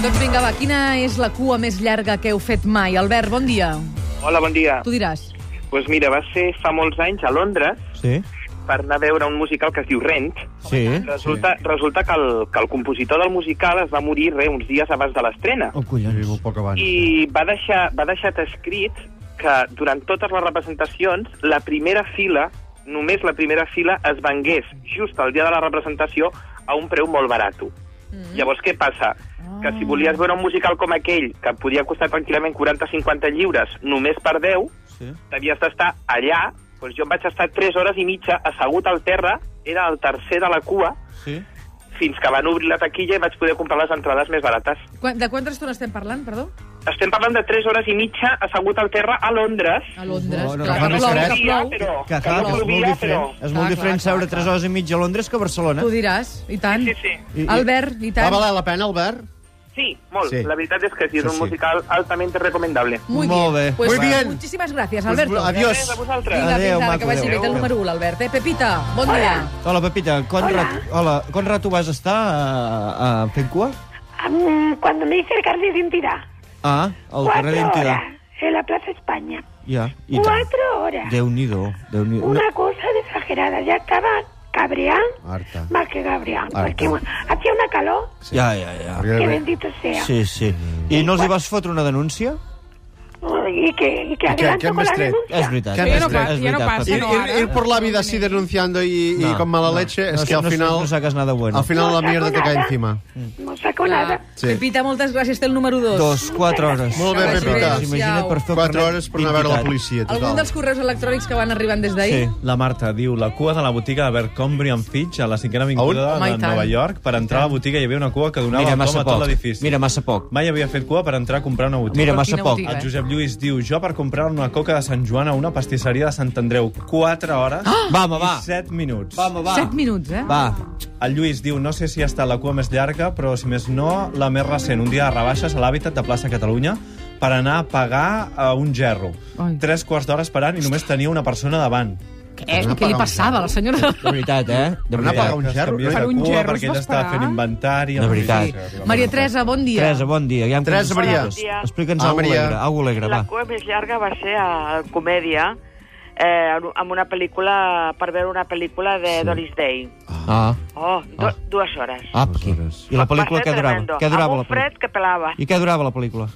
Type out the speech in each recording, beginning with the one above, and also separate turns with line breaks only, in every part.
Doncs vinga, va, quina és la cua més llarga que heu fet mai? Albert, bon dia.
Hola, bon dia.
Tu diràs.
Doncs pues mira, va ser fa molts anys a Londres
Sí,
per anar a veure un musical que es diu Rent.
sí.
Resulta, sí. resulta que, el, que el compositor del musical es va morir re, uns dies abans de l'estrena.
Oh, collons. Sí, molt poc abans.
I va deixar, va deixar escrit que durant totes les representacions la primera fila, només la primera fila, es vengués just el dia de la representació a un preu molt barat. Mm. Llavors, què passa? Que si volies veure un musical com aquell, que podia costar tranquil·lament 40-50 lliures, només per 10,
Sí.
t'havies d'estar allà, doncs jo em vaig estar 3 hores i mitja assegut al terra, era el tercer de la cua,
sí.
fins que van obrir la taquilla i vaig poder comprar les entrades més barates.
Quan- De quanta estona estem parlant, perdó?
Estem parlant de 3 hores i mitja assegut al terra a Londres.
A Londres.
No, no,
clar,
que fa
que
més
plou,
fred.
que plou.
Però-
Que, clar, que és molt
plovia,
diferent.
però-
És
Clar,
molt
clar,
diferent seure
clar,
3 hores i mitja a Londres que a Barcelona.
Tu diràs, i tant.
Sí, sí.
I- i-
Albert, i tant. Doncs,
la pena, Albert?
Sí, molt.
Sí.
Sí. La veritat és que sí, és
Sí,
un
sí.
musical altament recomendable.
Muy
Molt bé.
Pues,
Muy
bien.
Muchíssimas gracias,
Pues,
Alberto.
adiós.
Res, a vosaltres.
Vinga,
Adéu,
fins ara, que
maco,
vagi bé.
adéu.
Té el número 1, l'Albert. Eh, Pepita, bon dia.
Hola, Pepita. Conrad, hola. Conrad, tu vas estar a, a fent cua?
Mm, Cuando me hice el carnet de identidad.
Ah,
Oh,
al carrer
Cuatro
d'Identidad.
horas en la Plaza España.
Ja, i tant.
Cuatro horas.
Déu-n'hi-do. Déu -do.
Una cosa desagregada. Ya estaba cabreán
Harta.
más que cabreán.
Harta.
Porque bueno, hacía una calor
Ja, ja, ja.
que
Perquè
bendito sea.
Sí, sí. I no els hi vas fotre una denúncia?
Y que, y que adelanto
qué
con la
mestre?
denuncia.
És veritat.
Que
és
ja no
veritat,
pa-
ja
és
no
veritat,
passa,
Ir,
Pepita.
no?
ir, ir por la vida así denunciando y, y
No,
con mala
no.
leche,
No,
es que al
no-
final...
No sacas nada bueno.
Al final la
No
mierda te
saco
cae
nada. Mm.
encima.
No sacó nada.
Sí.
Pepita, moltes gràcies. Té el número 2.
Dos, quatre hores.
Molt bé,
Que vagi
Pepita.
Us Imagina't per fer el
Quatre
carnet
hores per anar a veure la
d'identitat.
policia,
Algun
total.
dels correus electrònics que van arribant des d'ahir?
Sí.
La Marta diu, la cua de la botiga de Bercombri and Fitch a la cinquena avinguda
Home, i
de
tant.
Nova York. Per entrar a la botiga hi havia una cua que donava
Mira,
el tom
massa
a tot
poc.
l'edifici.
Mira, massa poc.
Mai havia fet cua per entrar a comprar una botiga.
Mira,
Però
massa
quina
poc.
botiga,
El
eh?
Josep Lluís diu, jo per comprar una coca de Sant Joan a una pastisseria de Sant Andreu 4 hores
Va, Ah! home, va.
i 7 minuts.
Va, home, va.
Set minuts, eh?
Va.
El Lluís diu, no sé si ha estat la cua més llarga, però si més no, la més recent. Un dia de rebaixes a l'hàbitat de plaça Catalunya per anar a pagar a un gerro.
Ai.
Tres quarts d'hora esperant i només tenia una persona davant.
Què, Eh, què li passava, la senyora?
De veritat, eh? De
Anar a
veritat.
pagar un gerro?
Canvies de
Per un
cua
gerro es
perquè
va
ella estava
esperar?
fent inventari.
De veritat.
Maria Teresa, bon dia.
Teresa, bon dia. Ja em
Teresa,
contestaràs.
Maria.
Bon dia.
Explica'ns
Ah,
alguna
Maria.
alegre, alguna alegre,
La
va.
cua més llarga va ser a comèdia, eh, en- amb una pel·lícula, per veure una pel·lícula de
Sí.
sí. Doris Day.
Ah,
Oh, do,
Ah.
ah. dues hores.
ah aquí. I la pel·lícula
Va ser
què durava?
tremendo.
Què durava
amb
la
un fred
pel·lícula?
que pelava. I...
I què durava la pel·lícula?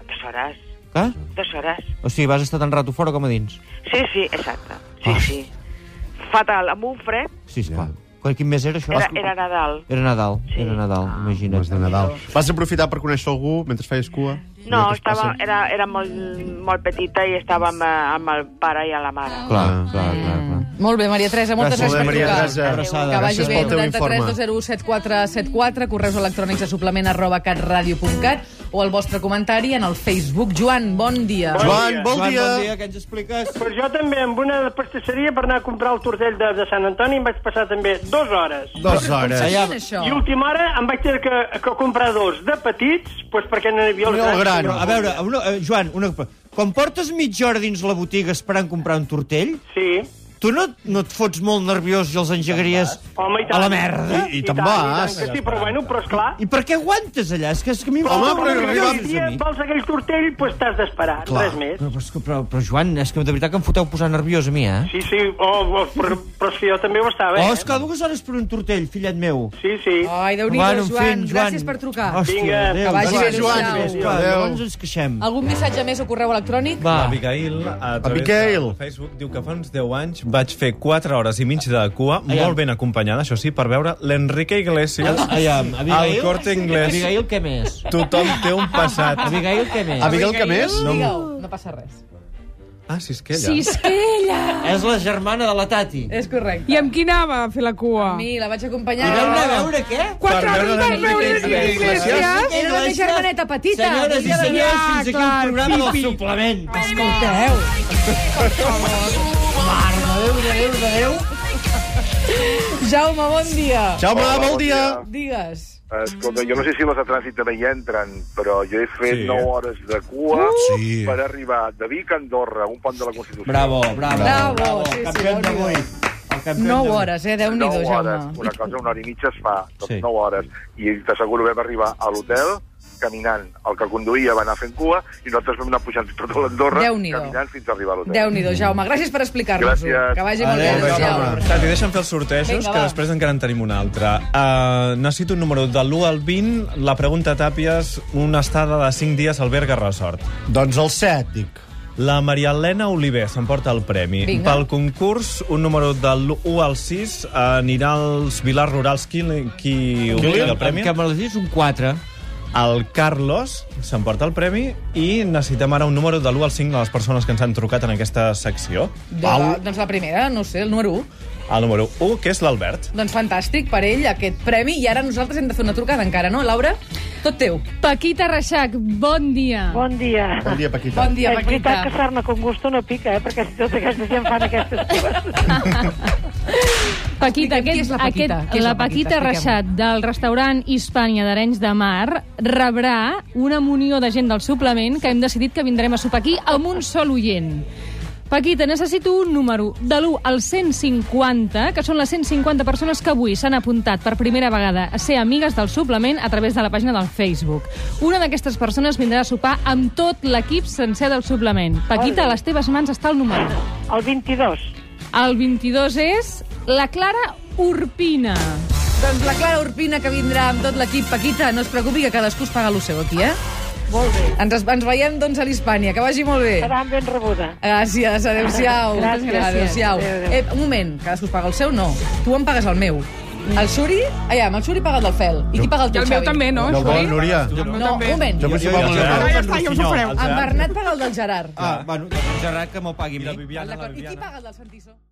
Dues hores,
Eh?
dues hores.
O sigui, vas estar tan rato fora com a dins?
Sí, sí, exacte. Sí,
Ah.
sí. Fatal, amb un fred,
Sí, esclar. Yeah. Quin mes era això?
era, era Nadal.
Era Nadal,
Sí.
era Nadal, imagina't.
Mas de Nadal. Vas aprofitar per conèixer algú mentre feies cua?
No,
Allò que es
estava,
passa?
era, era molt, molt petita i estava amb, eh, amb el pare i la mare.
Clar, clar, clar, clar.
Molt bé, Maria Teresa, moltes
Gràcies,
gràcies, per
Maria
trucar.
Teresa.
Abraçada.
Que vagi
Gràcies
bé,
pel teu
93
informe.
201 7474, correus electrònics de suplement arroba catradio.cat o el vostre comentari en el Facebook. Joan, bon dia.
Joan, bon dia.
Joan, bon dia, què ens expliques?
Però jo també, amb una pastisseria per anar a comprar el tortell de, de Sant Antoni, em vaig passar també dues hores.
Dues hores.
Allà,
Quin és això?
I última hora em vaig tenir que, que comprar dos de petits, doncs perquè no n'hi havia el
No, el gran.
Però, a veure, una, eh, Joan, una... quan portes mitja hora dins la botiga esperant comprar un tortell,
Sí.
tu no, no et fots molt nerviós i els engegaries
Home, i tant.
a la merda?
I- i
tant,
te'n eh? vas.
I tant, que sí, però bueno, però esclar...
I per què aguantes allà? És que, és que a mi em
Home,
falta
però
una
arriba-
mica,
dia
amic.
vols aquell tortell, doncs t'has d'esperar,
Clar.
res més.
Però, però, és que- però, però, Joan, és que de veritat que em foteu posar nerviós a mi, eh?
Sí, sí, oh, oh, però, però és que jo també ho estava,
Oh,
eh?
és que dues hores per un tortell, fillet meu.
Sí, sí.
Oh,
Ai, déu nhi Joan, Joan, gràcies per trucar.
Hòstia,
Vinga,
adéu.
que vagi
Gràcies,
bé,
Joan.
adéu.
Adéu. Clar,
Adéu.
Llavors ens queixem.
Algun missatge més o correu electrònic?
Va.
Abigail, a través
Ah. Abigail.
de Facebook, diu que fa uns 10 anys vaig fer 4 hores i mitja de cua, molt ben acompanyada, això sí, per veure l'Enrique Iglesias
Aviam, Ah, Abigail...
al Corte Inglés.
Abigail, què més?
Tothom té un passat.
Abigail, què més?
Abigail, que més?
Digue-ho, no passa res.
Ah, sí, és que ella.
És la germana de la Tati.
És correcte.
I amb qui anava a fer la cua?
Mi, la vaig
I
acompanyar.
vau anar a veure què?
Quatre
Per
hores
veure
vam
la
veure
Enrique
les
Iglesias.
iglesias.
Era la meva germaneta petita.
Senyores i
Volia veure-
senyors,
Ja,
fins aquí
clar,
el programa del
pipi.
suplement.
Escolteu.
Adéu, adéu, adéu.
Jaume, bon dia.
Jaume,
Hola,
bon
bon
dia.
dia.
Digues.
Eh, Escolta, jo no sé si les de trànsit també hi entren, però jo he fet
Sí.
sí. 9 hores de cua
Sí.
per arribar de Vic a Andorra, un pont de la Constitució.
Bravo, bravo.
Bravo, sí, sí,
campió
Déu-n'hi-do.
d'avui. El campió
9
d'avui.
hores, eh? déu nhi
9
Jaume.
hores, una cosa, una hora i mitja es fa, doncs
Sí.
sí. 9 hores. I t'asseguro que vam arribar a l'hotel caminant. El que conduïa va anar fent cua i nosaltres vam anar pujant tot a l'Andorra
Déu-n'hi-do.
caminant fins a arribar a l'hotel.
Déu-n'hi-do, Jaume. Gràcies per explicar-nos-ho.
Gràcies.
Que vagi molt bé.
Adéu,
Adéu,
Jaume. Tati, deixa'm fer els sortejos,
Vinga,
que
va.
després encara en tenim un altre. Uh, necessito un número de l'1 al 20, la pregunta a Tàpies, una estada de 5 dies al Berga Resort.
Doncs el 7, dic.
La Maria Elena Oliver s'emporta el premi.
Vinga.
Pel concurs, un número de l'1 al 6 eh, anirà als Vilars Rurals. Qui, qui obté el premi?
Que me l'has dit un 4.
El Carlos s'emporta el premi i necessitem ara un número de l'1 al 5 de les persones que ens han trucat en aquesta secció.
De la, doncs la primera, no ho sé, el número 1.
El número 1, que és l'Albert.
Doncs fantàstic per ell, aquest premi. I ara nosaltres hem de fer una trucada encara, no, Laura? Tot teu.
Paquita Reixac, bon dia.
Bon dia.
Bon dia, Paquita.
Bon dia,
És veritat
Paquita.
que Sarma con gusto no pica, eh? perquè si tota aquesta gent fan aquestes coses...
Paquita,
Explica'm, qui
aquest,
és la Paquita?
Aquest,
Qui és
la
la Paquita?
Paquita
Expliquem-ho.
Reixat del restaurant Hispània d'Arenys de Mar rebrà una munió de gent del suplement que hem decidit que vindrem a sopar aquí amb un sol oient. Paquita, necessito un número de l'1 al 150, que són les 150 persones que avui s'han apuntat per primera vegada a ser amigues del suplement a través de la pàgina del Facebook. Una d'aquestes persones vindrà a sopar amb tot l'equip sencer del suplement. Paquita, a les teves mans està el número.
El 22.
El 22 és la Clara Urpina.
Doncs la Clara Urpina, que vindrà amb tot l'equip. Paquita, no es preocupi, que cadascú es paga el seu aquí, eh?
Molt bé.
Ens, es- ens veiem, doncs, a l'Hispània. Que vagi molt bé.
Serà ben rebuda.
Gràcies, adeu-siau.
Gràcies.
Adeu-siau.
Adéu, adéu.
Eh, un moment, cadascú es paga el seu? No. Tu em pagues el meu. El Suri, aviam, el Suri paga el del Fel. I qui paga el
I
teu,
el meu també, no?
No
Això
vol,
bé?
Núria?
No, un moment.
Jo pensava que
jo-
Ara ja està, ja us ho fareu.
En Bernat paga el del Gerard.
Ah, bueno, doncs Gerard que m'ho pagui a mi.
D'acord. I qui paga el del Santiso?